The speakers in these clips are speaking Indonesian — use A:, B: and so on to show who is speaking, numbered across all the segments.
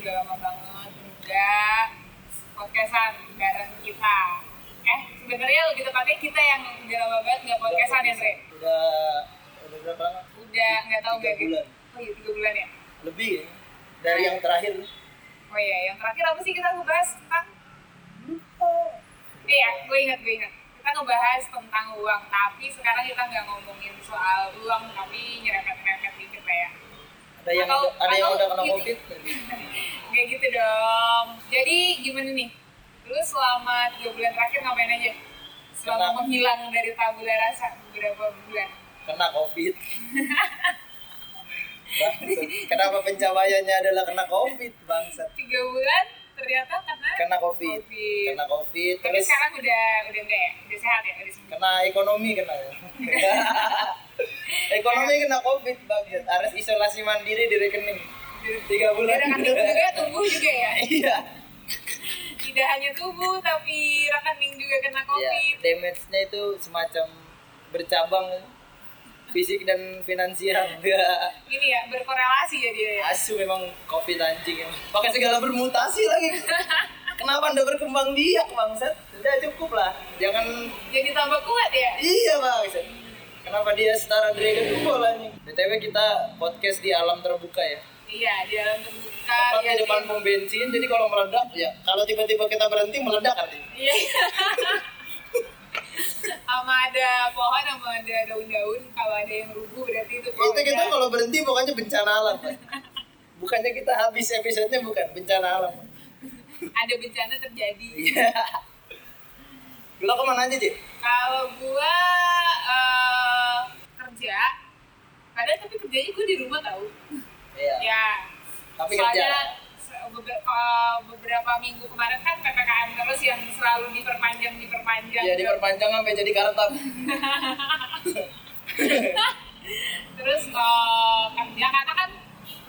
A: banget udah podcastan bareng kita. Eh, sebenarnya lebih tepatnya kita yang udah lama banget nggak podcastan ya, Sre?
B: Udah udah berapa lama?
A: Udah nggak tahu
B: Tiga
A: nggak gitu.
B: bulan.
A: Oh iya, tiga bulan ya?
B: Lebih dari yang terakhir.
A: Oh iya, yang terakhir apa sih kita ngebahas tentang? Iya, gue ingat, gue ingat. Kita ngebahas tentang uang, tapi sekarang kita nggak ngomongin soal uang, tapi nyerempet-nyerempet dikit lah ya.
B: Ada yang
A: Atau-
B: ada yang
A: atau
B: udah kena
A: gitu.
B: covid.
A: Kayak gitu dong. Jadi gimana nih? Lu selama 3 bulan terakhir ngapain aja? Selama
B: Kenapa?
A: menghilang dari tabula rasa beberapa bulan.
B: Kena covid. Bangsat. Kenapa pencapaiannya adalah kena covid bangsat?
A: 3 bulan ternyata karena
B: Kena covid.
A: Covid.
B: Kena covid
A: Tapi
B: terus
A: sekarang udah udah enggak ya? Udah sehat ya? Udah sembuh.
B: kena ekonomi kena. ya. ekonomi kena covid bangsat. Harus isolasi mandiri di rekening. Tiga
A: Udah
B: bulan.
A: rekening juga, tubuh juga ya?
B: Iya.
A: Tidak hanya tubuh, tapi rekening juga kena
B: Ya,
A: covid.
B: damage-nya itu semacam bercabang fisik dan finansial. Gak
A: Ini ya, berkorelasi ya dia ya?
B: asu memang covid anjing ini. Pakai segala bermutasi lagi. Kenapa anda berkembang biak bangsat? Udah cukup lah. Jangan
A: Jadi tambah kuat ya?
B: iya bangsat. Kenapa dia setara Dragon Ball anjing? BTW kita podcast di alam terbuka ya.
A: Iya, di dalam terbuka.
B: Tepat
A: liatin.
B: di depan pom bensin, jadi kalau meledak ya. Kalau tiba-tiba kita berhenti meledak artinya.
A: Iya. sama ada pohon sama ada daun-daun kalau ada yang rubuh berarti itu kan.
B: Itu gitu.
A: pohonnya.
B: kita kalau berhenti bukannya bencana alam. Pak. Bukannya kita habis episodenya bukan bencana alam. Pak.
A: ada bencana terjadi
B: Iya. Lo kemana aja, Cik?
A: kalau gua eh, kerja padahal tapi kerjanya gua di rumah tau
B: Iya.
A: ya
B: Tapi kerja.
A: soalnya se- beberapa, beberapa minggu kemarin kan ppkm terus yang selalu diperpanjang diperpanjang
B: Iya, diperpanjang sampai jadi kartam.
A: terus eh, kerja karena kan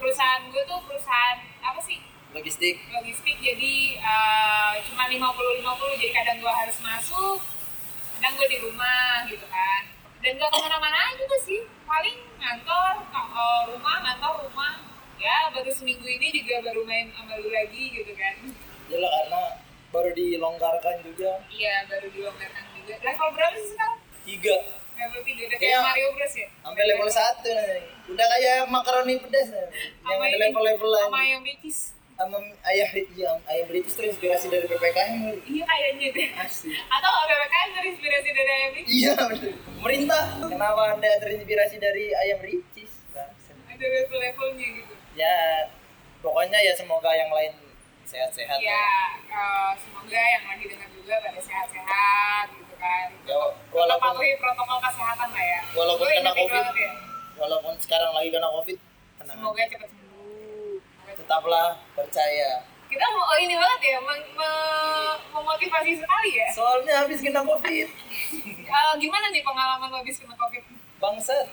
A: perusahaan gua tuh perusahaan apa sih
B: Logistik.
A: logistik jadi eh, cuma 50-50 jadi kadang gue harus masuk kadang gue di rumah gitu kan dan gak kemana-mana juga sih paling ngantor eh, rumah ngantor rumah ya baru seminggu ini juga baru main sama lu lagi gitu kan
B: Gila karena baru dilonggarkan juga.
A: iya baru dilonggarkan juga level berapa sih sekarang?
B: Tiga.
A: level 3 udah kayak
B: Iya.
A: Mario Bros ya?
B: Sampai level satu. nih. Udah kayak makaroni pedas. nih. Yang
A: Sama
B: ada
A: ini,
B: level-level
A: sama
B: lain.
A: yang ricis
B: Sama ayah, iya, ayah British terinspirasi dari PPKM. Bro.
A: iya kayaknya deh
B: Asli.
A: atau PPKM terinspirasi dari ayam ricis
B: Iya, betul. Pemerintah. Kenapa Anda terinspirasi dari ayam ricis? Bangsat.
A: ada level-levelnya gitu
B: Ya, pokoknya ya semoga yang lain sehat-sehat.
A: Ya, eh, semoga yang lagi dengar juga pada sehat-sehat gitu kan.
B: Ya,
A: Tetap
B: walaupun
A: patuhi protokol kesehatan lah ya.
B: Walaupun
A: Gue
B: kena
A: ingetin
B: Covid.
A: banget ya.
B: walaupun sekarang lagi kena covid, tenang
A: Semoga
B: aja.
A: cepat sembuh.
B: tetaplah percaya.
A: Kita mau oh ini banget ya, meng- me- memotivasi sekali ya.
B: Soalnya habis kena covid, Iya.
A: Eh, gimana nih pengalaman lo habis kena Covid?
B: bangsat.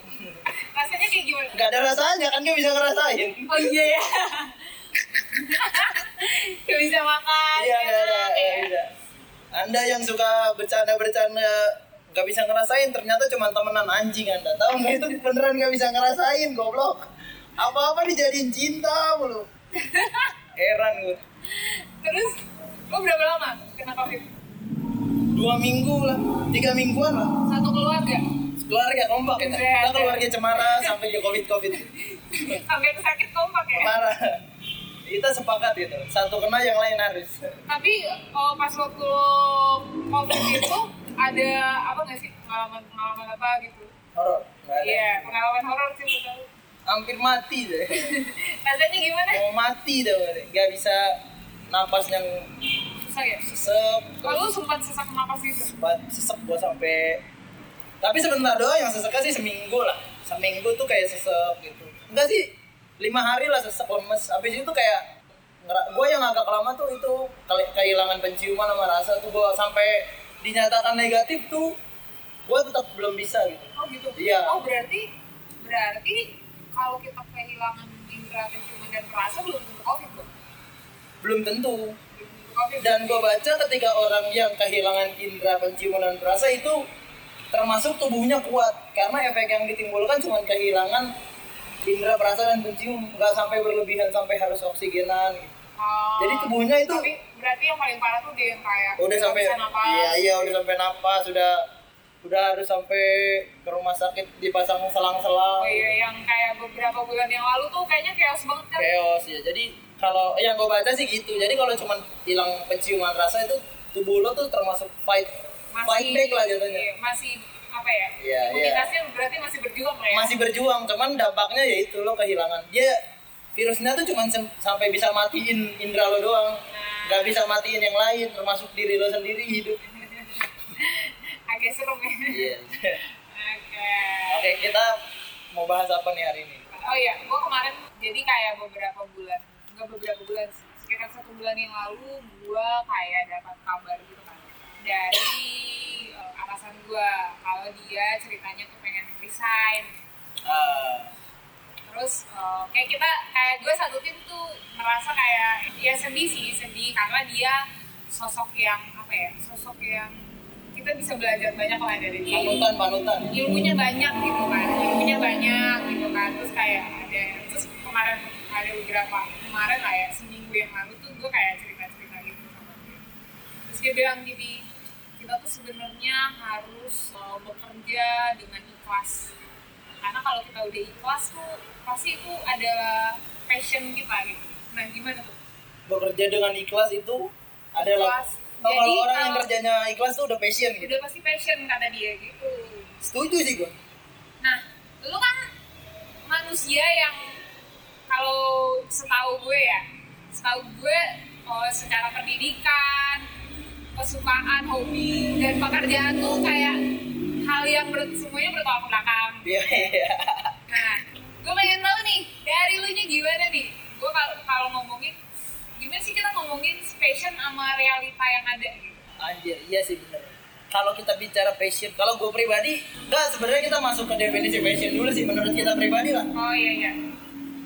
A: Rasanya kayak gimana?
B: Gak ada rasanya kan dia bisa ngerasain.
A: Oh iya ya. Gak bisa makan.
B: Iya,
A: enak,
B: gak ada.
A: ya.
B: Iya. Anda yang suka bercanda-bercanda gak bisa ngerasain ternyata cuma temenan anjing anda tahu nggak itu beneran gak bisa ngerasain goblok apa-apa dijadiin cinta mulu heran gue
A: Terus lo berapa lama kena Covid?
B: dua minggu lah tiga mingguan lah
A: Satu keluarga
B: keluarga kompak
A: Iya,
B: kita kita
A: iya.
B: keluarga cemara sampai ke covid covid Iya.
A: sampai ke sakit kompak ya.
B: parah kita sepakat gitu satu kena yang lain harus
A: tapi oh, pas waktu lo covid itu ada apa nggak sih pengalaman pengalaman apa gitu
B: horor nggak ada
A: iya pengalaman horor sih betul
B: hampir mati deh
A: rasanya gimana
B: mau mati deh gue. nggak bisa napas yang
A: susah ya
B: sesep
A: lalu sempat sesak napas gitu
B: sempat sesek gua sampai tapi sebentar doang yang seseknya sih seminggu lah seminggu tuh kayak sesek gitu enggak sih lima hari lah sesek lemes habis itu kayak gue yang agak lama tuh itu kele- kehilangan penciuman sama rasa tuh gue sampai dinyatakan negatif tuh gue tetap belum bisa gitu
A: oh gitu
B: Iya.
A: oh berarti berarti kalau kita kehilangan indera penciuman dan perasa belum tentu covid loh
B: belum tentu
A: belum tentu covid
B: dan gue baca ketika orang yang kehilangan indera penciuman dan perasa itu termasuk tubuhnya kuat karena efek yang ditimbulkan cuma kehilangan indera perasa dan pencium nggak sampai berlebihan sampai harus oksigenan gitu.
A: Oh.
B: Jadi tubuhnya itu-
A: Tapi berarti yang paling parah tuh dia yang kayak
B: udah
A: nggak
B: sampai
A: bisa napas.
B: iya iya udah sampai napas sudah udah harus sampai ke rumah sakit dipasang
A: Oh
B: selang-selang
A: iya, yang kayak beberapa bulan yang lalu tuh kayaknya chaos banget kan.
B: chaos ya jadi kalau eh, yang gue baca sih gitu jadi kalau cuman hilang penciuman rasa itu tubuh lo tuh termasuk fight fight back lah jatuhnya
A: iya, masih apa ya?
B: Iya, iya.
A: imunitasnya berarti masih berjuang lah ya.
B: masih berjuang cuman dampaknya ya itu lo kehilangan dia virusnya tuh cuman sem- sampai bisa matiin indra lo doang nggak bisa matiin yang lain termasuk diri lo sendiri hidup
A: agak serem ya.
B: Iya.
A: Oke.
B: oke kita mau bahas apa nih hari ini
A: Oh iya, gua kemarin jadi kayak beberapa bulan, enggak beberapa bulan, sih, sekitar satu bulan yang lalu gua kayak dapat kabar gitu kan dari eh, atasan gua kalau dia ceritanya tuh pengen resign.
B: Ah,
A: Terus eh, kayak kita kayak gue satu tim tuh merasa kayak ya sedih sih, sedih karena dia sosok yang apa ya? Sosok yang kita bisa belajar banyak lah dari dia
B: panutan panutan
A: ilmunya banyak gitu kan ilmunya banyak gitu kan terus kayak ada terus kemarin ada beberapa kemarin lah ya seminggu yang lalu tuh gue kayak cerita cerita gitu sama dia terus dia bilang gini kita tuh sebenarnya harus uh, bekerja dengan ikhlas karena kalau kita udah ikhlas tuh pasti itu adalah passion kita gitu nah gimana tuh
B: bekerja dengan ikhlas itu adalah
A: Ikhlas.
B: Nah,
A: Jadi,
B: kalau orang yang
A: kalau-
B: kerjanya ikhlas tuh udah passion gitu
A: udah pasti passion kata dia gitu
B: setuju sih gue
A: Nah, lu kan manusia yang kalau setahu gue ya, setahu gue oh, secara pendidikan, kesukaan, hobi, dan pekerjaan tuh kayak hal yang ber- semuanya bertolak belakang.
B: iya iya
A: Nah, gue pengen tahu nih dari lu nya gimana nih? Gue kalau kalau ngomongin gimana sih kita ngomongin passion sama realita yang ada gitu?
B: anjir iya sih bener kalau kita bicara passion kalau gue pribadi enggak sebenarnya kita masuk ke definisi passion dulu sih menurut kita pribadi lah
A: Oh iya iya.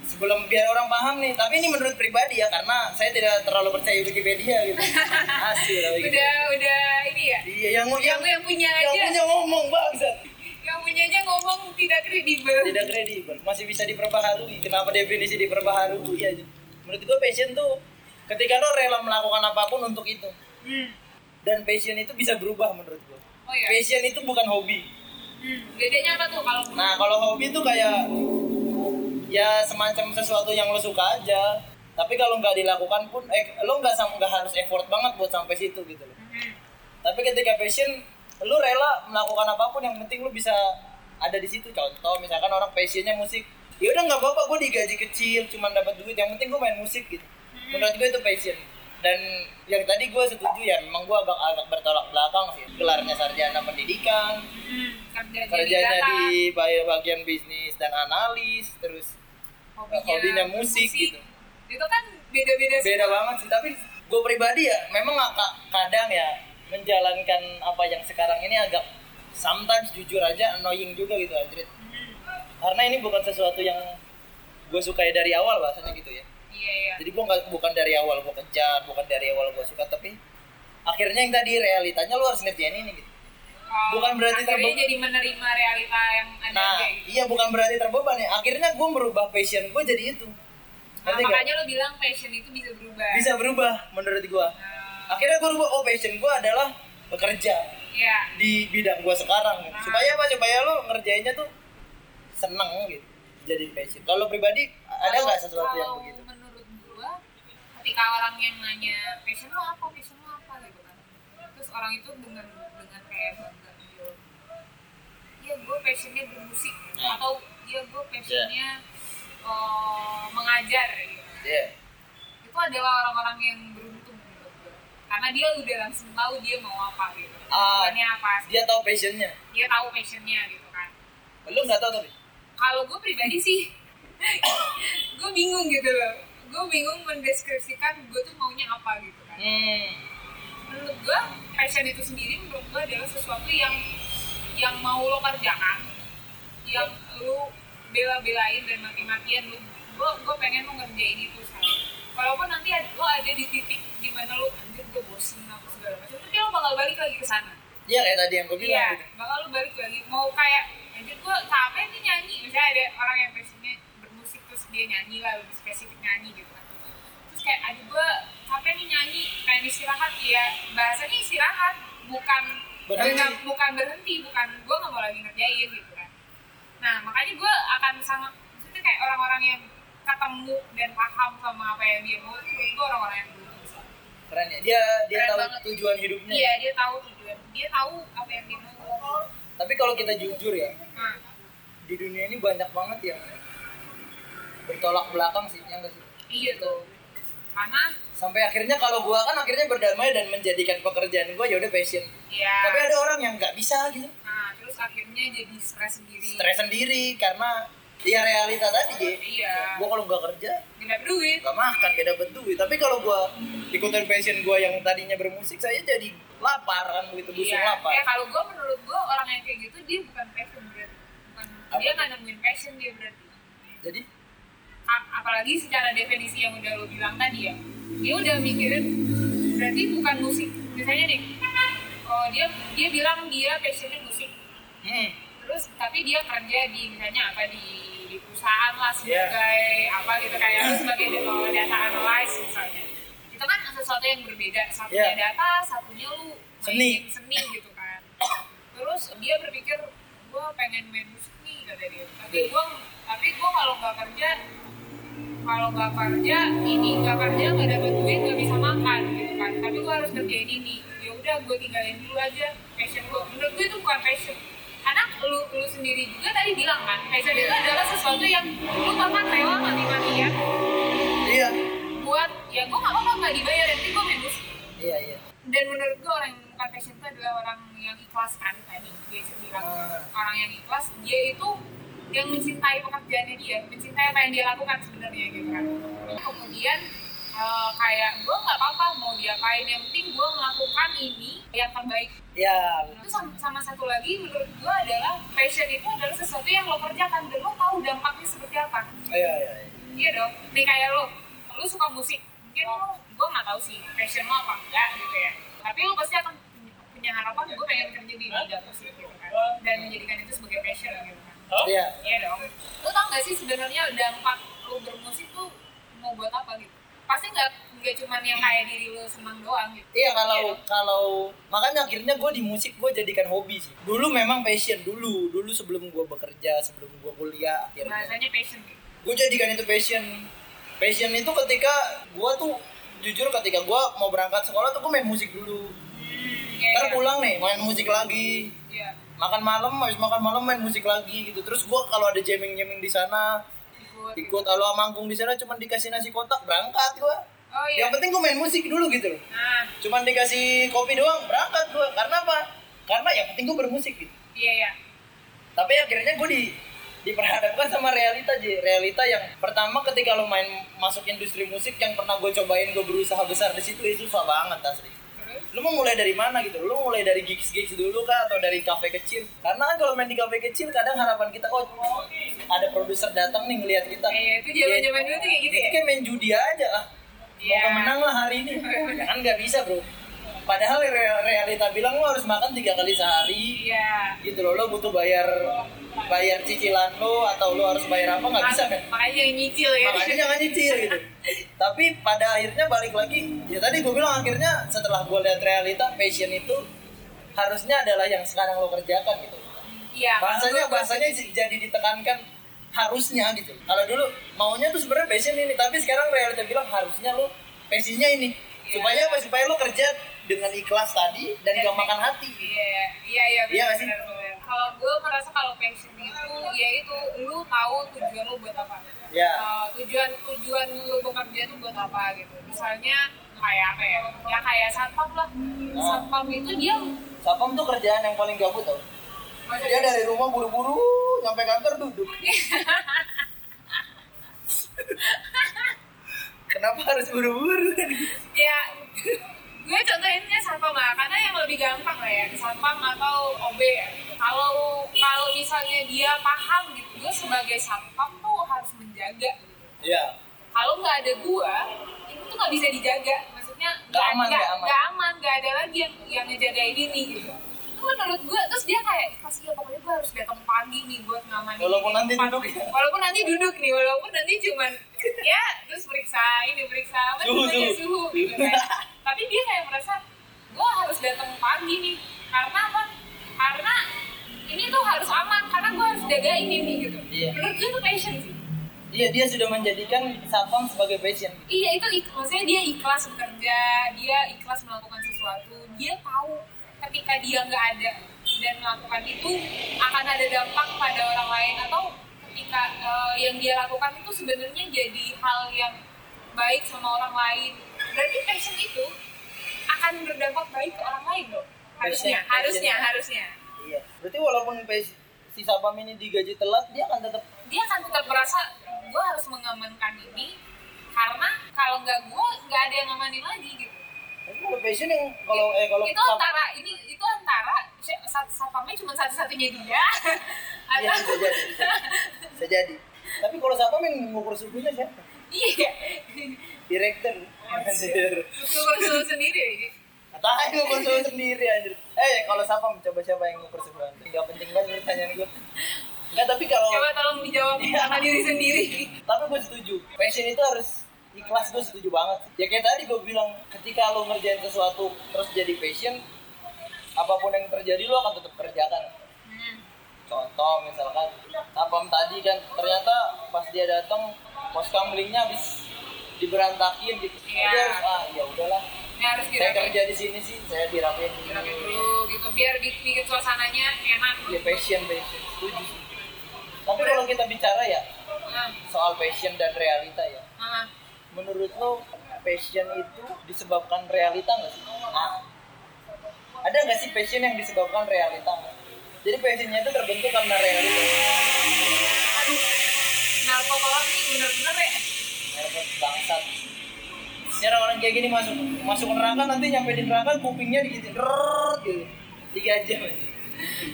B: sebelum biar orang paham nih tapi ini menurut pribadi ya karena saya tidak terlalu percaya Wikipedia gitu asli lah Wikipedia.
A: Udah udah ini ya.
B: iya yang yang
A: Yang yang punya
B: yang
A: aja.
B: punya ngomong bangsat
A: yang punyanya ngomong tidak kredibel
B: tidak kredibel masih bisa diperbaharui kenapa definisi diperbaharui aja menurut gua passion tuh ketika lo rela melakukan apapun untuk itu
A: hmm.
B: dan passion itu bisa berubah menurut gua
A: oh ya
B: passion itu bukan hobi
A: hmm. bedanya apa tuh kalau
B: nah kalau hobi tuh kayak ya semacam sesuatu yang lo suka aja tapi kalau nggak dilakukan pun eh, lo nggak sam- nggak harus effort banget buat sampai situ gitu loh
A: Mhm.
B: tapi ketika passion lu rela melakukan apapun yang penting lu bisa ada di situ contoh misalkan orang passionnya musik ya udah nggak apa-apa gue digaji kecil cuman dapat duit yang penting gue main musik gitu menurut gue itu passion dan yang tadi gue setuju ya memang gue agak agak bertolak belakang sih gelarnya sarjana pendidikan
A: Hmm, kerja
B: kerjanya
A: data,
B: di bay- bagian bisnis dan analis terus hobinya musik, gitu.
A: itu kan beda-beda sih.
B: beda banget sih tapi gue pribadi ya memang agak kadang ya menjalankan apa yang sekarang ini agak sometimes jujur aja annoying juga gitu anjrit
A: Mhm.
B: karena ini bukan sesuatu yang gue sukai dari awal bahasanya gitu ya
A: iya iya
B: jadi gue nggak bukan dari awal gue kejar bukan dari awal gue suka tapi akhirnya yang tadi realitanya lu harus ngerjain ini gitu
A: Kalau
B: bukan berarti
A: Oh, akhirnya
B: terbe-
A: jadi menerima realita yang ada
B: nah
A: kayak gitu.
B: iya bukan berarti terbeban ya akhirnya gue merubah passion gue jadi itu
A: nah,
B: Ngerti nggak?
A: makanya lo bilang passion itu bisa berubah
B: bisa berubah menurut gue
A: Nah,
B: akhirnya gue rubah oh passion gue adalah bekerja
A: iya
B: di bidang gua sekarang gitu. supaya apa supaya lo ngerjainnya tuh seneng gitu jadi passion kalau pribadi ada
A: Kalau-
B: nggak sesuatu yang
A: kalau
B: begitu
A: menurut gua ketika orang yang nanya passion lo apa passion lo apa gitu kan terus orang itu dengan dengan kayak bangga gitu ya gue passionnya bermusik
B: Ya.
A: atau ya gue passionnya eh, mengajar gitu
B: Iya.
A: itu adalah orang-orang yang beruntung menurut gua. karena dia udah langsung tahu dia mau apa gitu
B: Ah.
A: tujuannya apa
B: dia tahu passionnya
A: dia tahu passionnya gitu kan
B: lo nggak tahu tapi
A: kalau gue pribadi sih gue bingung gitu loh gue bingung mendeskripsikan gue tuh maunya apa gitu kan
B: hmm.
A: menurut gue passion itu sendiri menurut gue adalah sesuatu yang yang mau lo kerjakan yang lo bela-belain dan mati-matian lo gue gue pengen lo ngerjain itu sekarang walaupun nanti ad- lo ada di titik dimana lo anjir gue bosen apa segala macam tapi lo bakal balik lagi ke sana
B: iya kayak tadi yang gue bilang
A: Iya,
B: gitu.
A: bakal lu balik lagi. Mau kayak, anjir gue capek nih nyanyi. Misalnya ada orang yang passionnya bermusik, terus dia nyanyi lah, lebih spesifik nyanyi gitu kan. Terus kayak, aduh gue istirahat ya bahasanya istirahat bukan
B: Berhenti.
A: bukan- bukan berhenti bukan gue nggak mau lagi ngerjain gitu kan nah makanya gue akan sangat maksudnya kayak orang-orang yang ketemu dan paham sama apa yang dia mau itu menurut gue orang-orang yang beruntung sih.
B: keren ya dia dia
A: Keren
B: tahu
A: banget.
B: tujuan hidupnya
A: iya dia tahu tujuan dia tahu apa yang dia mau
B: tapi kalau kita jujur ya
A: nah,
B: di dunia ini banyak banget yang bertolak belakang sih yang sih
A: iya tuh karena
B: sampai akhirnya kalau gua kan akhirnya berdamai dan menjadikan pekerjaan gua ya udah passion
A: ya
B: tapi ada orang yang nggak bisa gitu
A: nah terus akhirnya jadi stres sendiri
B: stres sendiri karena ya realita tadi Ji.
A: Iya.
B: gua kalau nggak kerja
A: nggak dapet duit
B: nggak makan nggak dapet duit tapi kalau gua ikutin passion gua yang tadinya bermusik saya jadi lapar kan begitu busung
A: Iya.
B: lapar
A: Eh kalau gue menurut gue orang yang kayak gitu dia bukan passion berarti. Bukan,
B: Apa
A: dia
B: tuh?
A: nggak nemuin passion dia berarti.
B: jadi
A: A- apalagi secara definisi yang udah lo bilang tadi ya. Dia udah mikirin berarti bukan musik. Misalnya nih, oh dia dia bilang dia passionnya musik.
B: hmm,
A: Terus tapi dia kerja di misalnya apa di, di perusahaan lah
B: Iya.
A: sebagai apa gitu kayak lo sebagai oh, data analyst misalnya. Itu kan sesuatu yang berbeda. Satunya
B: Iya.
A: data, satunya lu
B: Seni.
A: mainin seni gitu kan terus dia berpikir gue pengen main musik nih kata dia tapi gue tapi gue kalau nggak kerja kalau nggak kerja ini nggak kerja nggak dapat duit nggak bisa makan gitu kan tapi gue harus kerjain ini ya udah gue tinggalin dulu aja passion gue menurut gue itu bukan passion karena lu, lu sendiri juga tadi bilang kan passion itu adalah sesuatu yang lu bahkan rela mati-matian
B: iya
A: buat ya gue nggak apa-apa nggak dibayar nanti gue main musik
B: iya iya
A: dan menurut gue orang yang menemukan passion itu adalah orang yang ikhlas kan tadi dia bilang
B: Ah.
A: orang yang ikhlas dia itu yang mencintai pekerjaannya dia mencintai apa yang dia lakukan sebenarnya gitu kan kemudian eh, kayak gue nggak apa-apa mau diapain yang penting gue melakukan ini yang terbaik
B: ya
A: itu sama, sama satu lagi menurut gue adalah passion itu adalah sesuatu yang lo kerjakan dan lo tahu dampaknya seperti apa
B: iya iya iya.
A: Iya dong, nih kayak lo, lo suka musik, mungkin lo, gue nggak tahu sih passion lo apa enggak gitu ya. Tapi lo pasti akan punya harapan, gue pengen kerja di bidang musik gitu kan, dan menjadikan itu sebagai passion gitu kan.
B: iya
A: Iya dong. Lo tau gak sih sebenarnya dampak lo bermusik tuh mau buat apa gitu? Pasti nggak nggak cuman yang kayak diri lo senang doang gitu.
B: Iya kalau
A: Iya.
B: kalau makanya akhirnya gue di musik gue jadikan hobi sih. Dulu memang passion dulu dulu sebelum gue bekerja sebelum gue kuliah akhirnya
A: Bahasanya passion gitu.
B: gue jadikan itu passion. Passion itu ketika gue tuh jujur ketika gue mau berangkat sekolah tuh gue main musik dulu.
A: Iya,
B: Ntar
A: iya.
B: pulang nih main musik lagi.
A: Iya.
B: Makan malam habis makan malam main musik lagi gitu. Terus gue kalau ada jamming jamming di sana
A: Ikut, gitu.
B: ikut kalau manggung di sana cuma dikasih nasi kotak berangkat gue.
A: Oh iya.
B: Yang penting gue main musik dulu gitu loh
A: Nah,
B: cuman dikasih kopi doang berangkat gue karena apa karena yang penting gue bermusik gitu
A: iya iya.
B: tapi akhirnya gue di diperhadapkan sama realita Ji. realita yang pertama ketika lo main masuk industri musik yang pernah gue cobain gue berusaha besar di situ itu susah banget asli
A: Terus?
B: lu mau mulai dari mana gitu lu mulai dari gigs gigs dulu kah atau dari kafe kecil karena kan kalau main di kafe kecil kadang harapan kita oh ada produser datang nih ngelihat kita
A: Iya, itu zaman-zaman dulu tuh kayak gitu
B: itu
A: ya?
B: kayak main judi aja ah
A: Iya.
B: mau menang lah hari ini kan nggak bisa bro padahal re- realita bilang lo harus makan tiga kali sehari
A: Iya.
B: gitu loh lo butuh bayar bayar cicilan lo atau lo harus bayar apa nggak bisa kan
A: Makanya yang nyicil ya.
B: makanya jangan nyicil gitu tapi pada akhirnya balik lagi ya tadi gue bilang akhirnya setelah gue lihat realita passion itu harusnya adalah yang sekarang lo kerjakan gitu
A: Iya.
B: bahasanya bahasanya j- jadi ditekankan harusnya gitu kalau dulu maunya tuh sebenarnya passion ini tapi sekarang realita bilang harusnya lo passionnya ini supaya apa supaya lo kerja dengan ikhlas tadi dan gak makan hati
A: Iya, iya, iya. benar,
B: Iya nggak sih?
A: benar, benar. Kalau gue merasa kalau passion itu, ya itu lu tahu tujuan lu buat apa.
B: Iya.
A: Eh, tujuan tujuan lu bekerja itu buat apa gitu. Misalnya kayak apa ya? Ya kayak satpam lah.
B: Oh.
A: Satpam itu dia
B: Sapam tuh kerjaan yang paling gabut tau dia dari rumah buru-buru nyampe kantor duduk kenapa harus buru-buru
A: ya gue contohinnya satpam lah karena yang lebih gampang lah ya satpam atau OB ya. kalau kalau misalnya dia paham gitu gue sebagai satpam tuh harus menjaga gitu.
B: ya
A: kalau nggak ada gua itu tuh nggak bisa dijaga maksudnya
B: Nggak aman,
A: nggak
B: nggak aman.
A: nggak aman nggak ada lagi yang yang ngejagain ini gitu itu menurut gua terus dia kayak pasti ya pokoknya gua harus datang pagi nih buat ngamanin
B: Walaupun
A: ini
B: nanti
A: tempat."
B: duduk ya.
A: walaupun nanti duduk nih walaupun nanti cuman ya terus periksa ini periksa apa
B: Suhu,
A: namanya,
B: suhu.
A: suhu gitu kan tapi dia kayak merasa gue harus datang pagi nih karena apa karena ini tuh harus aman karena gue harus jagain ini gitu
B: Iya.
A: menurut gue itu passion sih
B: Iya dia sudah menjadikan satpam sebagai passion.
A: Iya itu ik- maksudnya dia ikhlas bekerja, dia ikhlas melakukan sesuatu, dia tahu ketika dia nggak ada dan melakukan itu akan ada dampak pada orang lain atau ketika eh, yang dia lakukan itu sebenarnya jadi hal yang baik sama orang lain. Berarti passion itu akan berdampak baik ke orang lain loh. Harusnya,
B: Passion-
A: harusnya,
B: passion.
A: harusnya.
B: Iya. Berarti walaupun pes- si satpam ini digaji telat dia akan tetap
A: dia akan tetap merasa gue harus mengamankan ini karena kalau nggak gue nggak ada yang ngamanin lagi gitu.
B: tapi kalau passion yang kalau eh kalau
A: itu
B: sat-
A: antara ini itu antara si- sat- satpamnya cuma satu-satunya dia
B: Iya,
A: atau
B: bisa jadi, bisa jadi. Bisa jadi. Tapi kalau satpam yang ngukur sukunya siapa?
A: iya
B: Direktur. Anjir.
A: Susul-susul sendiri
B: Katain ngukur suhu sendiri anjir. Eh kalau satpam coba siapa yang ngukur suhu anjir. Gak penting banget pertanyaan gue. Enggak, tapi kalau
A: coba tolong dijawab
B: Iya.
A: sama diri sendiri
B: tapi gue setuju passion itu harus ikhlas gue setuju banget ya kayak tadi gue bilang ketika lo ngerjain sesuatu terus jadi passion apapun yang terjadi lo akan tetap kerjakan
A: Hmm.
B: contoh misalkan tapam tadi kan ternyata pas dia datang pos kamlingnya habis diberantakin gitu
A: Iya.
B: dia harus ah ya udahlah
A: ini harus
B: saya
A: dirapiin
B: kerja di sini sih saya dirapiin
A: dirapiin dulu gitu biar di- bikin suasananya enak
B: ya passion passion setuju sih. tapi kalau kita bicara ya
A: Ah,
B: soal passion dan realita ya
A: ah.
B: menurut lo passion itu disebabkan realita nggak sih? Ah. Ada nggak sih passion yang disebabkan realita? nggak? Jadi passionnya itu terbentuk karena realita.
A: aduh narkokolog nih bener-bener ya
B: Nervous bangsat. Secara orang kayak gini masuk masuk neraka nanti nyampe di neraka kupingnya digigit rrrr gitu tiga jam aja.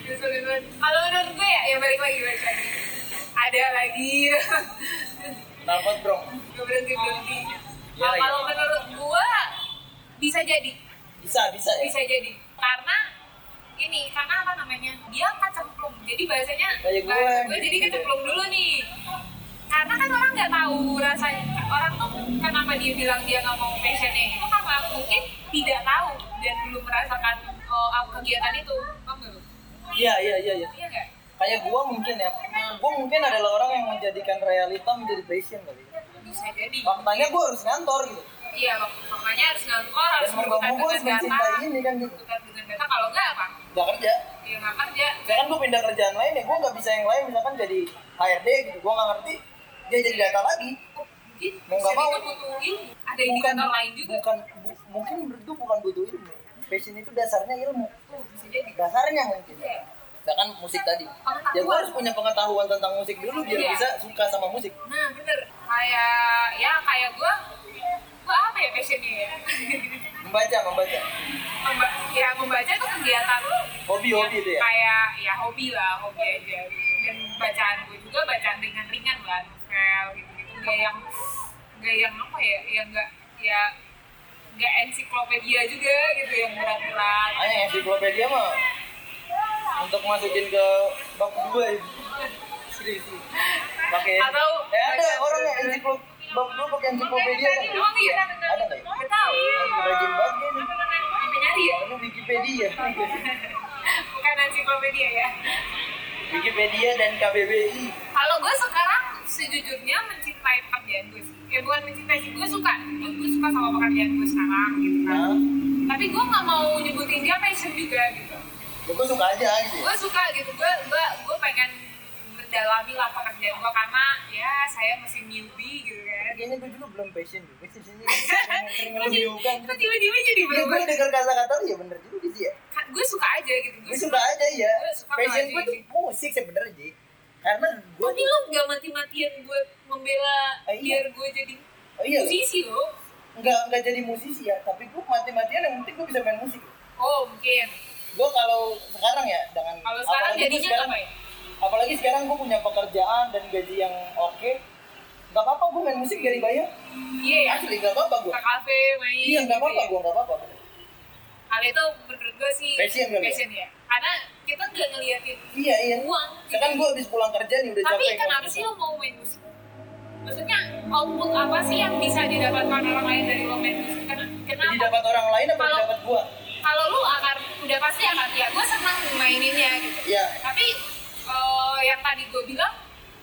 A: Ngeselin banget. kalau menurut gue ya ya balik lagi balik lagi ada lagi
B: Narkot bro.
A: Gak berhenti berhenti.
B: Iya,
A: Nah,
B: iya.
A: kalau menurut gua bisa jadi,
B: Bisa bisa ya.
A: bisa jadi. Karena ini karena apa namanya? Dia kecemplung. Jadi bahasanya
B: Kayak gue.
A: bahasa gue jadi kecemplung dulu nih. Karena kan orang nggak tahu rasanya. Orang tuh kenapa dia bilang dia nggak mau passionnya itu karena mungkin tidak tahu dan belum merasakan eh, apa kegiatan itu. Paham nggak lu?
B: Iya iya iya. iya.
A: Iya nggak?
B: Kayak gua mungkin ya.
A: Hmm.
B: Gua mungkin adalah orang yang menjadikan realita menjadi passion kali. ya.
A: Bisa jadi.
B: Faktanya gua harus ngantor gitu.
A: Iya, makanya harus ngangkor, harus
B: Dan mau nggak
A: berkutat
B: mau Iya, gua harus
A: dengan
B: mencintai
A: data.
B: ini kan gitu.
A: Berkutat dengan data. Kalau nggak apa?
B: Gak kerja.
A: Ya nggak kerja.
B: Misalkan gue pindah kerjaan lain ya, gue nggak bisa yang lain, misalkan jadi HRD gitu, gue nggak ngerti, dia jadi data lagi.
A: Oh, mungkin
B: Mau nggak
A: sering
B: mau.
A: tuh butuh ilmu. Ada indikator lain juga.
B: bukan bu- mungkin itu bukan butuh ilmu. Passion itu dasarnya ilmu,
A: Tuh, Oh, bisa jadi.
B: dasarnya mungkin.
A: Iya.
B: Misalkan musik tadi, ya gue
A: Pengetahuan.
B: harus punya pengetahuan tentang musik dulu biar
A: Iya.
B: bisa suka sama musik.
A: Nah, bener. Kayak, ya kayak gua, gua apa ya passionnya ya?
B: Membaca, membaca,
A: Memba- ya membaca itu kegiatan
B: hobi-hobi
A: yang
B: itu ya.
A: Kayak, ya hobi lah, hobi aja. Dan bacaan gua juga bacaan ringan-ringan lah, novel gitu-gitu. Gak yang, gak yang apa ya, yang gak, ya gak ensiklopedia juga gitu, yang berat-berat.
B: Hanya ensiklopedia mah untuk masukin ke bab dua ya. Serius. serius. Pakai.
A: Atau-
B: eh, ada orang yang ensiklop bab dua pakai ensiklopedia kan?
A: Emang iya?
B: Ada nggak? ya?
A: Gak tau.
B: Rajin banget dia nih.
A: Sampai nyari ya?
B: Ini Wikipedia.
A: Bukan ensiklopedia ya.
B: Wikipedia dan KBBI.
A: Kalau gue sekarang sejujurnya mencintai pekerjaan gue sih. Ya bukan mencintai sih, gue suka. Gue gue suka sama pekerjaan gue sekarang gitu kan.
B: Nah,
A: Tapi gue nggak mau nyebutin dia passion juga gitu.
B: ya gue suka aja gitu. ya.
A: Gue suka gitu. Gue gue gue pengen mendalami lah pekerjaan gue karena ya saya masih newbie gitu kan.
B: Kayaknya gue juga belum passion deh. Passion sini sering sering ngeluhkan.
A: Terus tiba-tiba jadi
B: Ya, gue
A: berubah.
B: denger kata-kata lu ya bener juga sih ya.
A: Ka- Gue suka aja gitu.
B: Gue
A: Gue
B: suka aja ya.
A: Gue suka
B: Passion
A: aja,
B: gue tuh
A: Ji.
B: musik sebenernya sih. Karena gue
A: Tapi lu gak mati-matian buat membela
B: Eh, iya.
A: biar gue jadi
B: oh iya loh.
A: musisi lo.
B: nggak nggak jadi musisi ya. Tapi gue mati-matian yang penting gue bisa main musik.
A: Oh mungkin.
B: Gue kalau sekarang ya dengan
A: Kalau sekarang
B: apalagi gue
A: jadinya
B: sekarang-
A: apa ya?
B: apalagi sekarang gue punya pekerjaan dan gaji yang oke nggak apa-apa gue main musik dari bayar
A: Iya ya.
B: asli nggak apa-apa gue
A: Ke kafe main.
B: iya nggak
A: gitu
B: apa-apa
A: ya.
B: gue nggak apa-apa
A: Hal itu menurut gue sih
B: Passion kali ya?
A: ya. Karena kita nggak ngeliatin
B: iya iya
A: uang.
B: sekarang gue habis pulang kerja nih udah
A: Tapi
B: capek
A: kenapa sih lo mau main musik? Maksudnya output apa sih yang bisa didapatkan orang lain dari lo main musik? Ken-
B: jadi
A: Kenapa?
B: dapat orang lain apa
A: Kalau-
B: pendapat gua
A: kalau lu akar udah pasti akar ya gue senang maininnya gitu
B: Iya.
A: tapi eh, yang tadi gue bilang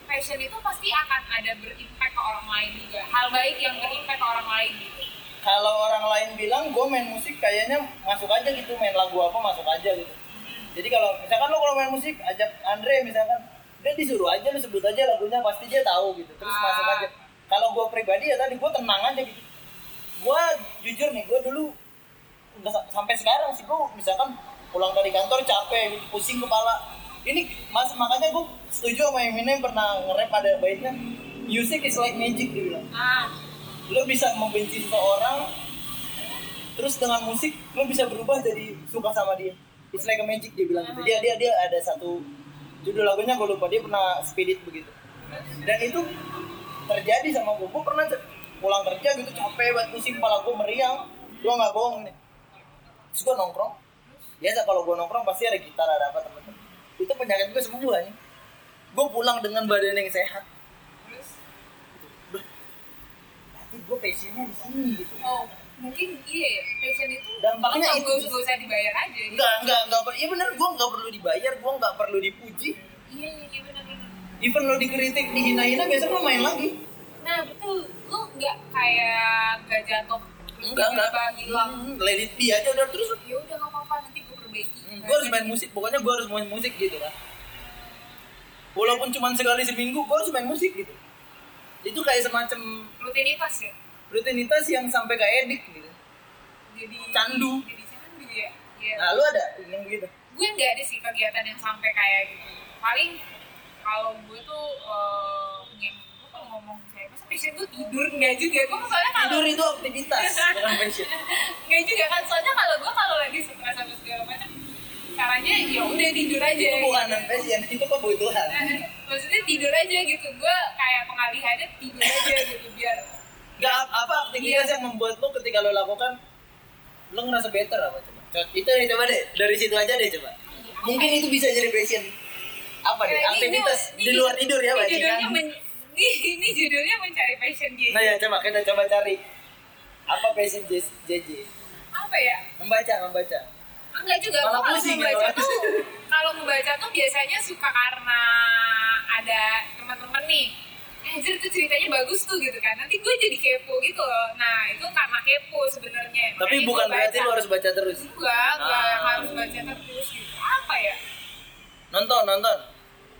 A: passion itu pasti akan ada berimpact ke orang lain juga hal baik yang berimpact ke orang lain gitu
B: kalau orang lain bilang gue main musik kayaknya masuk aja gitu main lagu apa masuk aja gitu jadi kalau misalkan lo kalau main musik ajak Andre misalkan dia disuruh aja lo sebut aja lagunya pasti dia tahu gitu terus
A: Ah.
B: masuk aja kalau gue pribadi ya tadi gue tenang aja gitu gue jujur nih gue dulu nggak sa- sampai sekarang sih gue misalkan pulang dari kantor capek gitu, pusing kepala ini mas makanya gue setuju sama Eminem pernah nge-rap ada baiknya music is like magic dia bilang
A: ah
B: lo bisa membenci seseorang terus dengan musik lo bisa berubah jadi suka sama dia it's like a magic dia bilang gitu dia dia dia ada satu judul lagunya gue lupa dia pernah spirit begitu dan itu terjadi sama gue gue pernah ce- pulang kerja gitu capek banget pusing kepala gue meriang gue nggak bohong nih terus gue nongkrong biasa kalau gue nongkrong pasti ada gitar ada apa temen-temen itu penyakit gue sembuh aja gue pulang dengan badan yang sehat
A: terus
B: tapi gue passionnya di sini gitu
A: oh mungkin iya ya passion itu lu
B: Dampaknya
A: nggak
B: itu.
A: usah- nggak usah dibayar aja gitu.
B: Enggak, enggak, enggak per- Iya bener, gue enggak perlu dibayar, gue enggak perlu dipuji
A: iya iya iya benar-benar
B: Even lo dikritik, dihina-hina, biasanya lo main lagi
A: nah betul lu nggak kayak nggak jatuh terus
B: Enggak, enak
A: tiba-tiba hilang
B: Hmm, Let it be aja udah terus
A: ya udah nggak apa-apa nanti gue perbaiki
B: Gue Hmm, harus main musik, pokoknya gue harus main musik gitu kan Walaupun cuma sekali seminggu, gue harus main musik gitu Itu kayak semacam
A: rutinitas ya
B: rutinitas yang sampai kayak edik gitu
A: jadi
B: Candu
A: jadi candu ya Iya.
B: Nah lo ada yang gitu
A: gue nggak ada sih kegiatan yang sampai kayak gitu paling kalau gue tuh eh yang gue kalau ngomong saya masa passion gue tidur nggak juga gue soalnya kalau
B: Tidur itu aktivitas, bukan passion
A: nggak juga kan soalnya kalau gue kalau lagi stres sama segala macam caranya ya udah tidur aja gitu.
B: Itu bukan passion, itu kebutuhan
A: Eh, maksudnya tidur aja gitu gue kayak pengalihannya tidur aja gitu biar
B: Gak apa
A: Iya.
B: aktivitas yang membuat lo ketika lo lakukan lo ngerasa better apa coba? Co- Itu deh, coba deh dari situ aja deh coba. Mungkin itu bisa jadi passion. Apa
A: Kayak Iya,
B: deh?
A: ini-
B: Aktivitas
A: ini-
B: di luar tidur
A: ini
B: ya bajingan.
A: judulnya men- ini, ini judulnya mencari passion gitu
B: Nah ya coba kita coba cari apa passion J- JJ?
A: apa ya
B: Membaca membaca.
A: Enggak juga, gua
B: Malah
A: kalau
B: pusing
A: membaca
B: ya, Mas.
A: tuh kalau membaca tuh biasanya suka karena ada teman-teman nih "Eh, anjir tuh ceritanya bagus tuh gitu kan nanti gue jadi kepo gitu loh nah itu karena kepo sebenarnya
B: Tapi
A: Makanya
B: bukan
A: gua
B: berarti
A: baca.
B: lo harus baca terus.
A: enggak enggak
B: Ah.
A: yang harus baca terus gitu apa ya
B: Nonton nonton.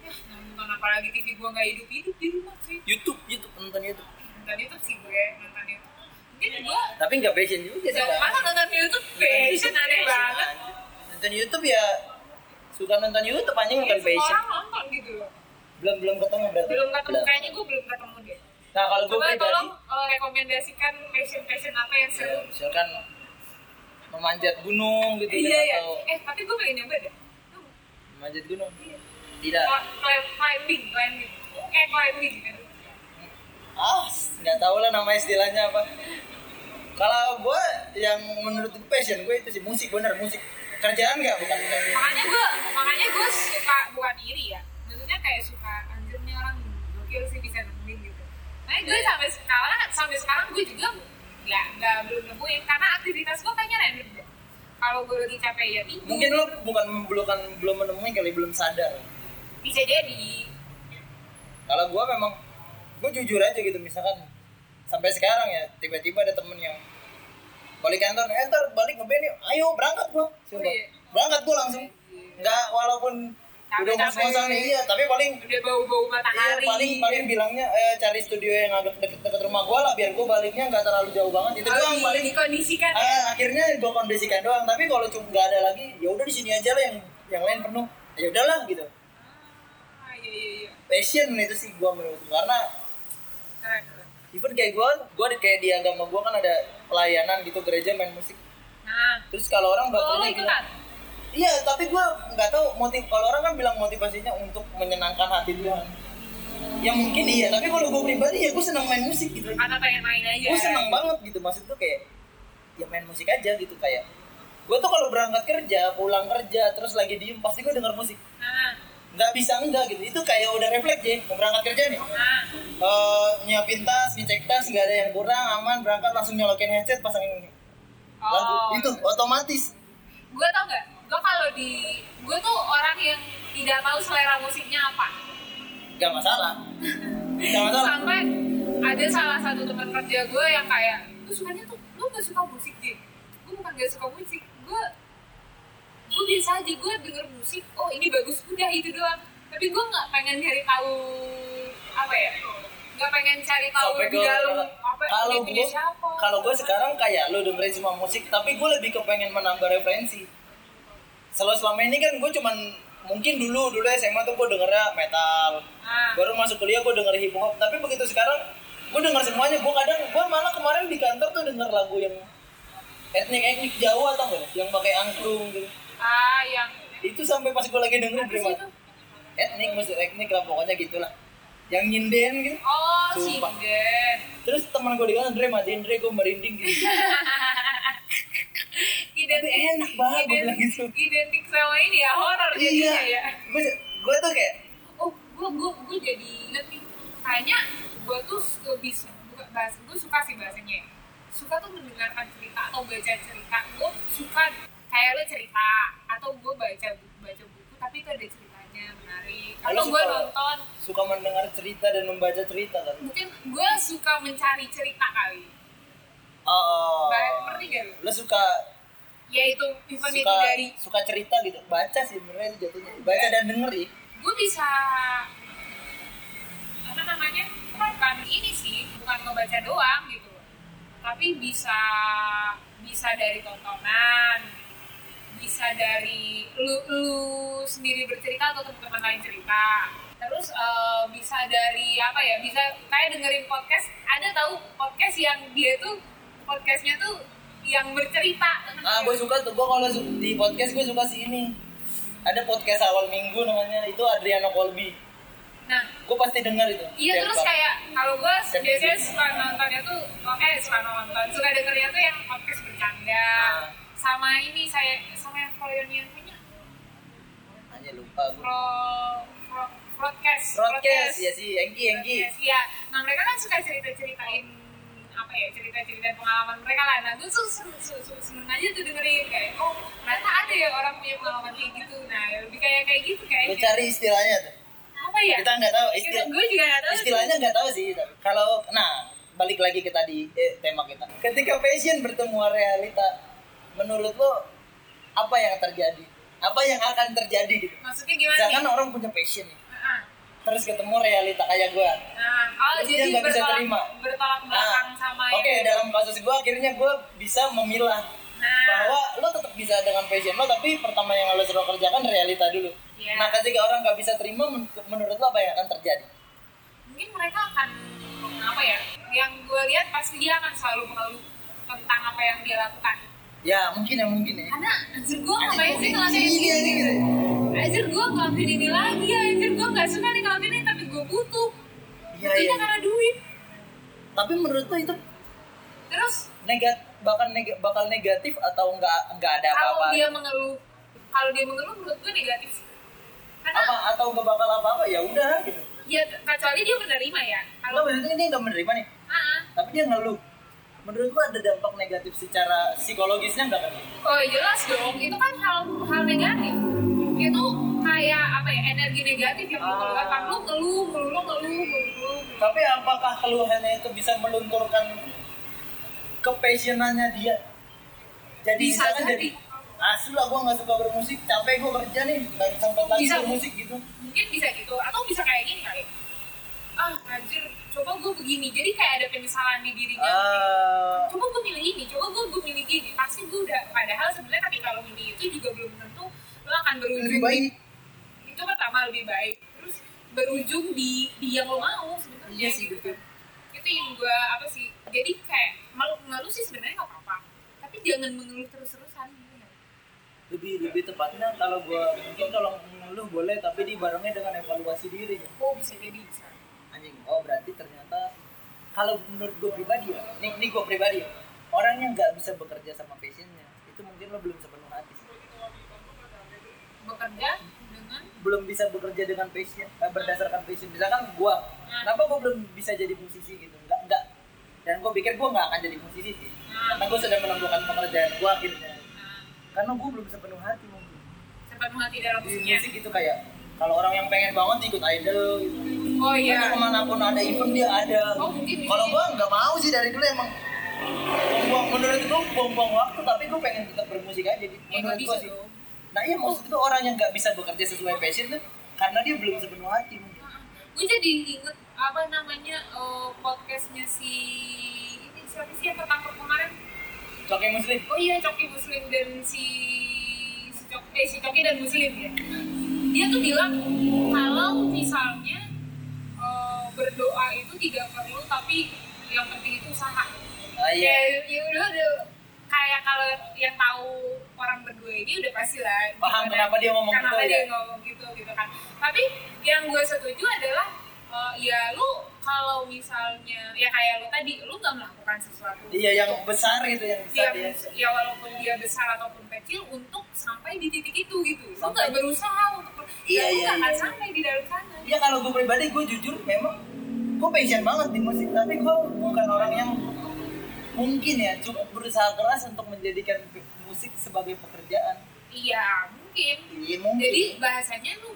A: ya nonton apalagi TV gue nggak hidup hidup di rumah sih
B: YouTube YouTube nonton YouTube.
A: nonton YouTube sih gue nonton YouTube mungkin gue
B: Tapi nggak passion juga sih.
A: Jangan
B: Bang.
A: masa nonton YouTube
B: Iya,
A: passion aneh banget
B: Nonton YouTube ya suka nonton YouTube anjing
A: Iya,
B: bukan
A: semua
B: passion.
A: orang nonton gitu loh
B: Belum belum ketemu berarti.
A: belum ketemu kayaknya gue belum ketemu deh
B: Nah kalau gue
A: Coba
B: pribadi
A: tolong eh, rekomendasikan passion-passion apa yang
B: ya,
A: seru.
B: misalkan memanjat gunung gitu
A: Iya
B: kan,
A: ya.
B: atau Iya.
A: Eh tapi gue pengen nyoba deh. Lu,
B: memanjat gunung
A: iya.
B: tidak
A: Cla- climb- Climbing, climbing. Eh climbing kan.
B: ah nggak tahu lah nama istilahnya apa kalau gue yang menurut gue passion gue itu sih musik bener musik kerjaan nggak bukan bukan
A: Makanya gue, makanya gue suka bukan iri ya. Maksudnya kayak suka anjir nih orang gokil sih bisa nemuin gitu. Nah
B: Iya.
A: gue sampai sekarang, sampai sekarang gue juga nggak nggak belum nemuin karena aktivitas gue kayaknya random deh. Kalau gue lagi capek ya tidur.
B: mungkin lo bukan belum belum menemui kali belum sadar
A: Bisa jadi.
B: kalau gue memang gue jujur aja gitu misalkan sampai sekarang ya tiba-tiba ada temen yang balik kantor eh ntar balik ngeband yuk ayo berangkat gue
A: Oh, iya.
B: berangkat gue langsung nggak walaupun
A: Capek-capek.
B: udah ngos-ngosan iya tapi paling
A: Udah bau-bau matahari.
B: iya, paling paling bilangnya eh, cari studio yang agak deket-deket rumah gue lah biar gue baliknya nggak terlalu jauh banget itu doang
A: Harus
B: paling
A: dikondisikan ya.
B: eh, akhirnya gue kondisikan doang tapi kalau cuma nggak ada lagi ya udah di sini aja lah yang yang lain penuh ya udahlah gitu
A: Ah, iya iya iya.
B: passion itu sih gue menurut gua. karena
A: Keren, keren.
B: Even kayak gue, gue kayak di agama gue kan ada pelayanan gitu gereja main musik.
A: Nah,
B: Terus kalau orang
A: kalau lo
B: bakal
A: ikutan?
B: Iya, tapi gue nggak tahu motif. Kalau orang kan bilang motivasinya untuk menyenangkan hati Tuhan. Ya mungkin iya, tapi kalau gue pribadi ya gue seneng main musik gitu.
A: Karena pengen main aja.
B: Gue seneng banget gitu, maksud gue kayak ya main musik aja gitu kayak. Gue tuh kalau berangkat kerja, pulang kerja, terus lagi diem pasti gue denger musik.
A: Nah,
B: Nggak bisa enggak gitu, itu kayak udah refleks ya, mau berangkat kerja nih.
A: nah.
B: Eh, nyiapin tas, ngecek tas, nggak ada yang kurang, aman, berangkat langsung nyolokin headset, pasangin lagu
A: Oh.
B: itu otomatis
A: gue tau nggak gue kalau di gue tuh orang yang tidak tahu selera musiknya apa
B: gak masalah gak masalah
A: sampai ada salah satu teman kerja gue yang kayak lu sebenarnya tuh lu gak suka musik Jin gue bukan gak suka musik gue gue biasa aja gue denger musik oh ini bagus udah itu doang tapi gue nggak pengen cari tahu apa ya nggak pengen cari tahu
B: sampai
A: lebih
B: ke
A: dalam apa
B: kalau
A: ini punya
B: gue
A: siapa
B: kalau gue sekarang kayak lo dengerin cuma musik tapi gue lebih kepengen menambah referensi selalu selama ini kan gue cuman mungkin dulu dulu SMA tuh gue dengernya metal
A: Ah.
B: baru masuk kuliah gue denger hip hop tapi begitu sekarang gue denger semuanya gue kadang gue malah kemarin di kantor tuh denger lagu yang etnik etnik Jawa atau enggak yang pakai angklung gitu
A: ah yang
B: itu sampai pas gue lagi dengerin
A: apa sih itu
B: berapa etnik musik etnik lah pokoknya gitulah yang nyinden gitu
A: oh
B: Sumpah.
A: sinden
B: terus teman gue di kantor Dre matiin Dre gue merinding
A: Iya,
B: gitu Tapi enak banget gue bilang gitu.
A: identik sama ini ya horor
B: iya
A: jadinya ya
B: gue gue tuh kayak
A: oh gue gue gue jadi inget nih kayaknya gue tuh lebih su- bukan bahasa gue suka sih bahasanya ya. suka tuh mendengarkan cerita atau baca cerita gue suka kayak lo cerita atau gue baca buku baca buku tapi itu ada ceritanya menarik atau
B: Lo
A: gue
B: suka-
A: nonton
B: suka mendengar cerita dan membaca cerita kan
A: mungkin gue suka mencari cerita kali
B: oh
A: Ba- ngerti gak lo
B: lo suka
A: ya itu event itu
B: suka
A: dari
B: suka cerita gitu baca sih sebenarnya itu jatuhnya baca
A: Iya.
B: dan denger ya
A: gue bisa apa namanya bukan ini sih bukan ngebaca doang gitu tapi bisa bisa dari tontonan bisa dari lu, lu sendiri bercerita atau teman-teman lain cerita terus eh, bisa dari apa ya bisa kayak dengerin podcast ada tahu podcast yang dia tuh podcastnya tuh yang bercerita
B: ah gue suka tuh gue kalau su- di podcast gue suka si ini ada podcast awal minggu namanya itu Adriano Colby
A: nah
B: gue pasti dengar itu
A: Iya
B: Tiap
A: terus
B: kali.
A: kayak kalau gue
B: Tiap
A: biasanya
B: kali.
A: suka nontonnya tuh eh suka nonton suka dengernya tuh yang podcast bercanda
B: Ah.
A: sama ini saya sama yang Froyon yang punya
B: hanya lupa gue
A: Fro Fro broadcast
B: broadcast ya si Engki Engki
A: Broadcast, Iya, nah mereka kan suka cerita ceritain apa ya cerita cerita pengalaman mereka lah. Nah gue tuh sen- sen- sen- seneng aja tuh dengerin kayak oh ternyata ada ya orang punya pengalaman kayak gitu. Nah lebih kayak kayak gitu
B: gue
A: kayak
B: cari istilahnya tuh
A: apa ya?
B: kita nggak tahu istilah
A: Gue juga nggak tahu. sih.
B: istilahnya nggak tahu sih tapi kalau nah balik lagi ke tadi eh, tema kita ketika passion bertemu realita menurut lo apa yang terjadi apa yang akan terjadi gitu
A: Maksudnya gimana? nih?
B: misalkan orang punya passion nih,
A: Ah.
B: terus ketemu realita kayak gue
A: Nah, oh
B: Terus dia
A: jadi
B: nggak bisa
A: bertolak,
B: terima. Nah,
A: bertolak belakang sama
B: oke
A: ini.
B: dalam kasus gue akhirnya gue bisa memilah
A: Nah.
B: bahwa lo tetap bisa dengan passion lo tapi pertama yang lo suruh kerjakan realita dulu
A: Iya.
B: nah ketika orang nggak bisa terima men- menurut lo apa yang akan terjadi
A: Mungkin mereka akan apa ya? Yang gue lihat pasti dia akan selalu mengeluh tentang apa yang dia lakukan.
B: ya mungkin ya mungkin ya
A: Karena anjir gue ngapain sih ngelakuin ini?
B: Iya, iya, iya.
A: Anjir gue ngelakuin ini lagi, anjir gue nggak suka nih ngelakuin ini tapi gue butuh.
B: Iya,
A: Butuhnya
B: iya.
A: karena duit.
B: Tapi menurut lo itu
A: Terus
B: negat bakal neg- bakal negatif atau nggak nggak ada
A: kalau
B: Iya, apa-apa?
A: dia mengeluh, kalau dia mengeluh menurut gue negatif. Karena
B: Apa atau nggak bakal apa-apa ya udah gitu.
A: ya kecuali dia menerima ya.
B: Kalau
A: Kalau
B: berarti dia nggak menerima nih,
A: ah,
B: tapi dia ngeluh. Menurut lo ada dampak negatif secara psikologisnya nggak kan?
A: Oh jelas dong, itu kan hal hal negatif. Itu kayak apa ya energi negatif yang lu
B: Ah.
A: keluarkan. Lu ngeluh, mulu, lu ngeluh, mulu, lu ngeluh.
B: Tapi apakah keluhannya itu bisa melunturkan kepassionannya dia? Jadi
A: Bisa
B: misalkan
A: jadi.
B: asli lah gue nggak suka bermusik, capek gue kerja nih, nggak sempat lagi
A: Bisa.
B: bermusik gitu.
A: Mungkin bisa gitu, atau bisa kayak gini kali. Ah, anjir, coba gue begini. Jadi kayak ada penyesalan di dirinya.
B: Eh,
A: Coba gue milih ini, coba gue gue milih gini. Pasti gue udah. Padahal sebenarnya tapi kalau milih itu juga belum tentu lu akan berujung
B: lebih baik.
A: itu pertama lebih baik. Terus berujung di di yang lo mau sebenarnya. gitu.
B: Iya sih betul.
A: itu yang gue apa sih jadi kayak malu ngeluh sih sebenarnya nggak apa-apa tapi jangan mengeluh terus-terusan gitu ya.
B: lebih lebih tepatnya kalau gua mungkin kalau ngeluh boleh tapi dibarengnya dengan evaluasi diri
A: oh bisa jadi bisa
B: anjing oh berarti ternyata kalau menurut gua pribadi ya nih nih gua pribadi ya orang yang nggak bisa bekerja sama passionnya itu mungkin lo belum sepenuh hati sih.
A: bekerja dengan
B: belum bisa bekerja dengan
A: Hmm.
B: passion eh, berdasarkan passion misalkan gua kenapa gua belum bisa jadi musisi gitu nggak nggak dan gue pikir gue nggak akan jadi musisi sih
A: Hmm.
B: karena gue sedang menemukan pekerjaan gue akhirnya
A: Nah,
B: karena gue belum sepenuh hati mungkin
A: sepenuh hati dalam
B: di
A: musiknya.
B: musik itu kayak kalau orang yang pengen banget ikut idol gitu
A: Oh
B: Karena
A: iya.
B: kemanapun ada event dia ada gitu.
A: Oh, mungkin bisa
B: kalau
A: jadi.
B: gue nggak mau sih dari dulu emang buang menurut gue buang-buang waktu tapi gue pengen tetap bermusik aja gitu
A: Ya, nggak
B: menurut gue
A: bisa
B: sih
A: dong.
B: nah iya maksud itu orang yang nggak bisa bekerja sesuai passion tuh karena dia belum sepenuh hati mungkin
A: gue jadi inget apa namanya eh, podcastnya si ini siapa sih yang ketangkep kemarin
B: Coki muslim
A: oh iya coki muslim dan si si coki eh, si coki dan muslim ya dia tuh bilang kalau misalnya eh, berdoa itu tidak perlu tapi yang penting itu usaha
B: ah
A: ya
B: iya
A: ya udah udah kayak kalau yang tahu orang berdua ini udah pasti lah
B: Paham
A: gimana-
B: kenapa dia ngomong
A: kenapa
B: gitu
A: dia
B: ya?
A: ngomong gitu gitu kan tapi yang gue setuju adalah eh, ya lu kalau misalnya ya kayak lu tadi lu nggak melakukan sesuatu
B: iya yang besar gitu yang
A: ya,
B: besar dia
A: ya walaupun dia besar ataupun kecil untuk sampai di titik itu gitu lu
B: Sampai-
A: nggak berusaha untuk ber-
B: Iya,
A: dan lu
B: iya,
A: nggak akan
B: iya.
A: sampai di dalam sana
B: Iya kalau gue pribadi gue jujur memang gue passion banget di musik tapi gue bukan orang yang mungkin ya cukup berusaha keras untuk menjadikan pe- musik sebagai pekerjaan.
A: iya mungkin
B: Iya mungkin.
A: jadi bahasanya lu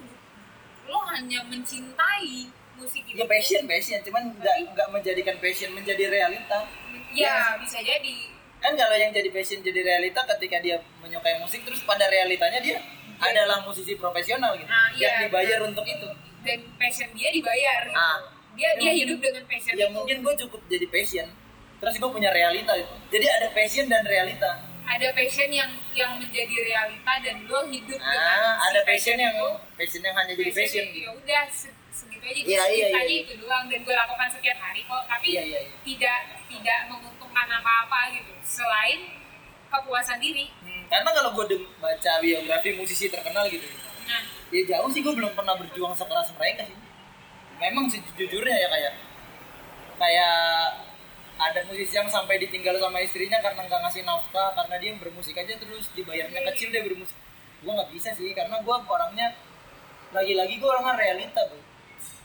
A: lu hanya mencintai musik itu
B: ya passion passion cuman nggak
A: Tapi-
B: nggak menjadikan passion menjadi realita.
A: Ya,
B: Iya.
A: bisa jadi.
B: Kan kalau yang jadi passion jadi realita ketika dia menyukai musik terus pada realitanya dia adalah musisi profesional
A: Iya.
B: gitu
A: Ah,
B: yang
A: iya.
B: dibayar untuk itu.
A: Dan passion dia dibayar gitu.
B: Ah.
A: Dia dia
B: Ya, mungkin-
A: hidup dengan passion
B: Ya
A: itu.
B: mungkin gue cukup jadi passion terus gue punya realita gitu. Jadi ada passion dan realita.
A: Ada passion yang yang menjadi realita dan lo hidup dengan
B: Ah,
A: si
B: ada passion yang
A: Iya, itu.
B: passion yang hanya jadi passion.
A: ya udah se- segitu aja
B: Iya, iya,
A: segitu
B: iya,
A: aja
B: iya.
A: itu doang dan gue lakukan setiap hari kok tapi
B: Iya, iya, iya.
A: tidak tidak menguntungkan apa-apa gitu selain kepuasan diri
B: Hmm, karena kalau gue baca biografi musisi terkenal gitu,
A: nah
B: ya jauh sih gue belum pernah berjuang sekeras mereka sih. Memang sejujurnya ya kayak kayak ada musisi yang sampai ditinggal sama istrinya karena nggak ngasih nafkah karena dia bermusik aja terus dibayarnya kecil dia bermusik. Gue nggak bisa sih karena gue orangnya lagi-lagi gue orangnya realita bu.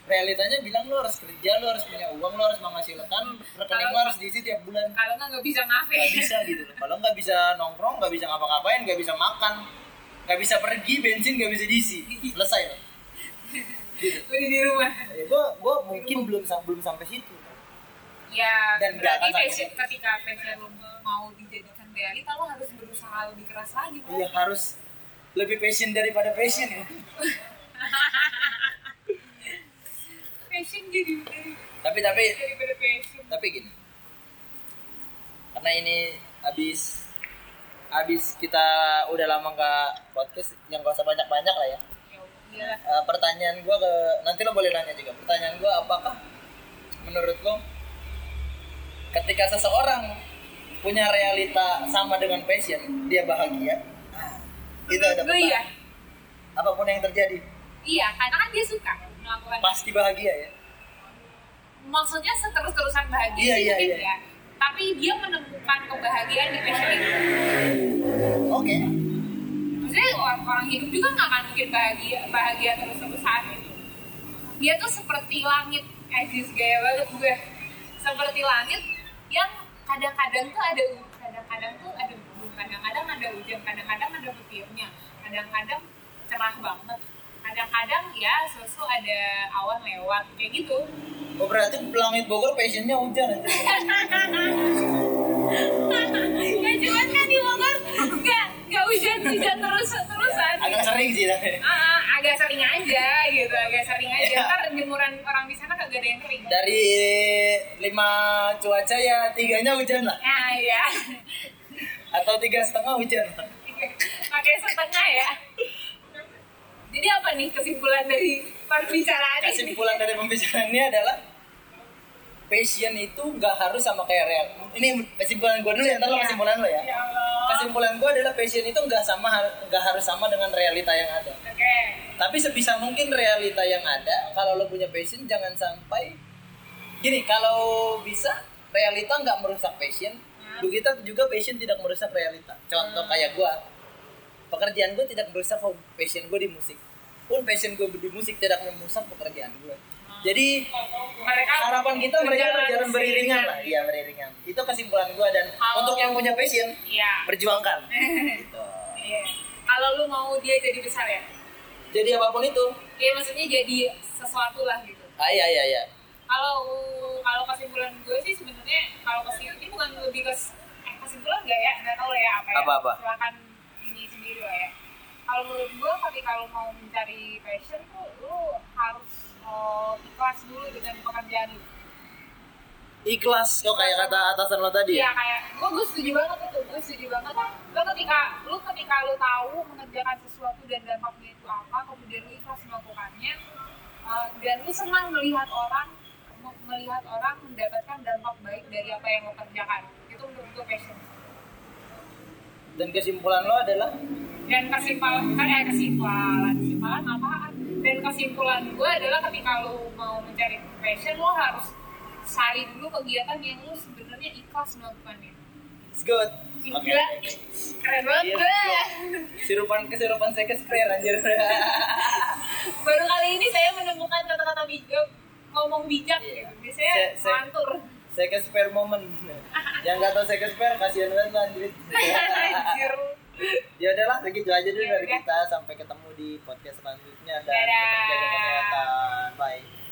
B: Realitanya bilang lo harus kerja, lo harus punya uang, lo harus menghasilkan, rekening lo harus diisi tiap bulan.
A: kalau nggak nggak bisa ngafe
B: nggak bisa gitu loh. kalau nggak bisa nongkrong nggak bisa ngapa-ngapain nggak bisa makan nggak bisa pergi bensin nggak bisa diisi selesai loh
A: udah di rumah
B: ya gua gua mungkin belum sam- belum sampai situ
A: Ya,
B: Dan nggak
A: berarti
B: akan sampai
A: passion, ketika passion lo mau dijadikan realita, lo harus berusaha lebih keras lagi, bro.
B: ya harus lebih passion daripada passion ya
A: Passion jadi dari
B: tapi tapi
A: daripada Ya passion.
B: tapi gini karena ini habis habis kita udah lama nggak podcast yang gak usah banyak-banyak lah ya
A: Ya, iyalah.
B: Eh, pertanyaan gua ke nanti lo boleh nanya juga pertanyaan gua apakah menurut lo ketika seseorang punya realita sama dengan passion dia bahagia Nah, itu ada
A: Menurut gue
B: pertanyaan.
A: ya.
B: apapun yang terjadi
A: Iya, karena kan dia suka melakukan.
B: pasti bahagia ya
A: Maksudnya seterus-terusan bahagia
B: Iya,
A: sih
B: iya,
A: mungkin
B: iya.
A: ya. Tapi dia menemukan kebahagiaan di passion itu.
B: oke
A: Maksudnya orang, orang hidup juga nggak akan mungkin bahagia bahagia terus-terusan gitu. Dia tuh seperti langit, Aziz gaya banget gue. Seperti langit yang kadang-kadang tuh ada u- kadang-kadang tuh ada embun, kadang-kadang ada hujan, kadang-kadang ada petirnya, kadang-kadang cerah banget. Kadang-kadang ya susu ada awan lewat kayak gitu.
B: oh berarti langit Bogor passionnya hujan aja.
A: ya cuman kan di Bogor nggak nggak hujan-hujan terus-terusan.
B: agak sering sih tapi.
A: Ah, agak sering aja gitu, agak sering aja.
B: Iya.
A: Ntar jemuran orang di sana kagak ada yang kering.
B: dari lima cuaca ya tiganya hujan lah
A: Ya, ya.
B: atau tiga setengah hujan
A: Iya. Pakai setengah ya. Jadi apa nih kesimpulan dari perbicaraan ini?
B: kesimpulan dari pembicaraan ini adalah passion itu nggak harus sama kayak real ini kesimpulan gue dulu ya ntar lo
A: Iya.
B: kesimpulan lo ya
A: Ya Allah.
B: kesimpulan gue adalah passion itu nggak sama nggak harus sama dengan realita yang ada
A: Oke.
B: tapi sebisa mungkin realita yang ada kalau lo punya passion jangan sampai gini kalau bisa realita nggak merusak passion
A: Hmm.
B: begitu juga passion tidak merusak realita contoh kayak gue pekerjaan gue tidak merusak passion gue di musik pun passion gue di musik tidak merusak pekerjaan gue Jadi
A: mereka
B: harapan kita mereka Hmm. berjalan beriringan lah.
A: Iya.
B: Iya beriringan. Itu kesimpulan gua dan
A: Kalau-
B: untuk yang punya passion berjuangkan. Gitu.
A: Iya. Kalau lu mau dia jadi besar ya?
B: Jadi apapun itu.
A: Iya maksudnya jadi sesuatu lah gitu.
B: Ah iya iya iya.
A: Kalau kalau kesimpulan gue sih sebenarnya kalau kesimpulan ini bukan lebih ke eh, kesimpulan nggak ya? Nggak tahu ya apa ya?
B: Apa-apa?
A: Silakan ini sendiri lah ya. Kalau menurut gue ketika lu mau mencari passion tuh lu harus eh, ikhlas dulu dengan pekerjaan lu.
B: Ikhlas kok kayak kata atasan lo tadi.
A: Iya
B: ya?
A: kayak gue gue setuju banget itu, gue setuju banget kan. Lo ketika lu ketika lu tahu mengerjakan sesuatu dan dampaknya itu apa, kemudian lu ikhlas melakukannya eh, dan lu senang melihat orang me- melihat orang mendapatkan dampak baik dari apa yang lo kerjakan. Itu menurut gue passion.
B: Dan kesimpulan lo adalah
A: Dan kesimpulan, eh kesimpulan, kesimpulan apaan? Dan kesimpulan gue adalah ketika lu mau mencari passion, lo harus cari dulu kegiatan yang lu sebenarnya ikhlas melakukannya.
B: it's good.
A: Gila, Iya. keren banget ya.
B: Iya.
A: gue.
B: Sirupan keserupan saya ke spray anjir.
A: Baru kali ini saya menemukan kata-kata bijak, ngomong bijak gitu.
B: Iya.
A: Biasanya
B: Se- se-
A: mantur.
B: saya ke spare moment. yang nggak tahu saya ke spare kasihan banget lo, anjir.
A: Anjir.
B: ya udahlah segitu aja dulu
A: Ya
B: dari
A: udah.
B: kita sampai ketemu di podcast selanjutnya dan
A: Dadah.
B: tetap jaga kesehatan bye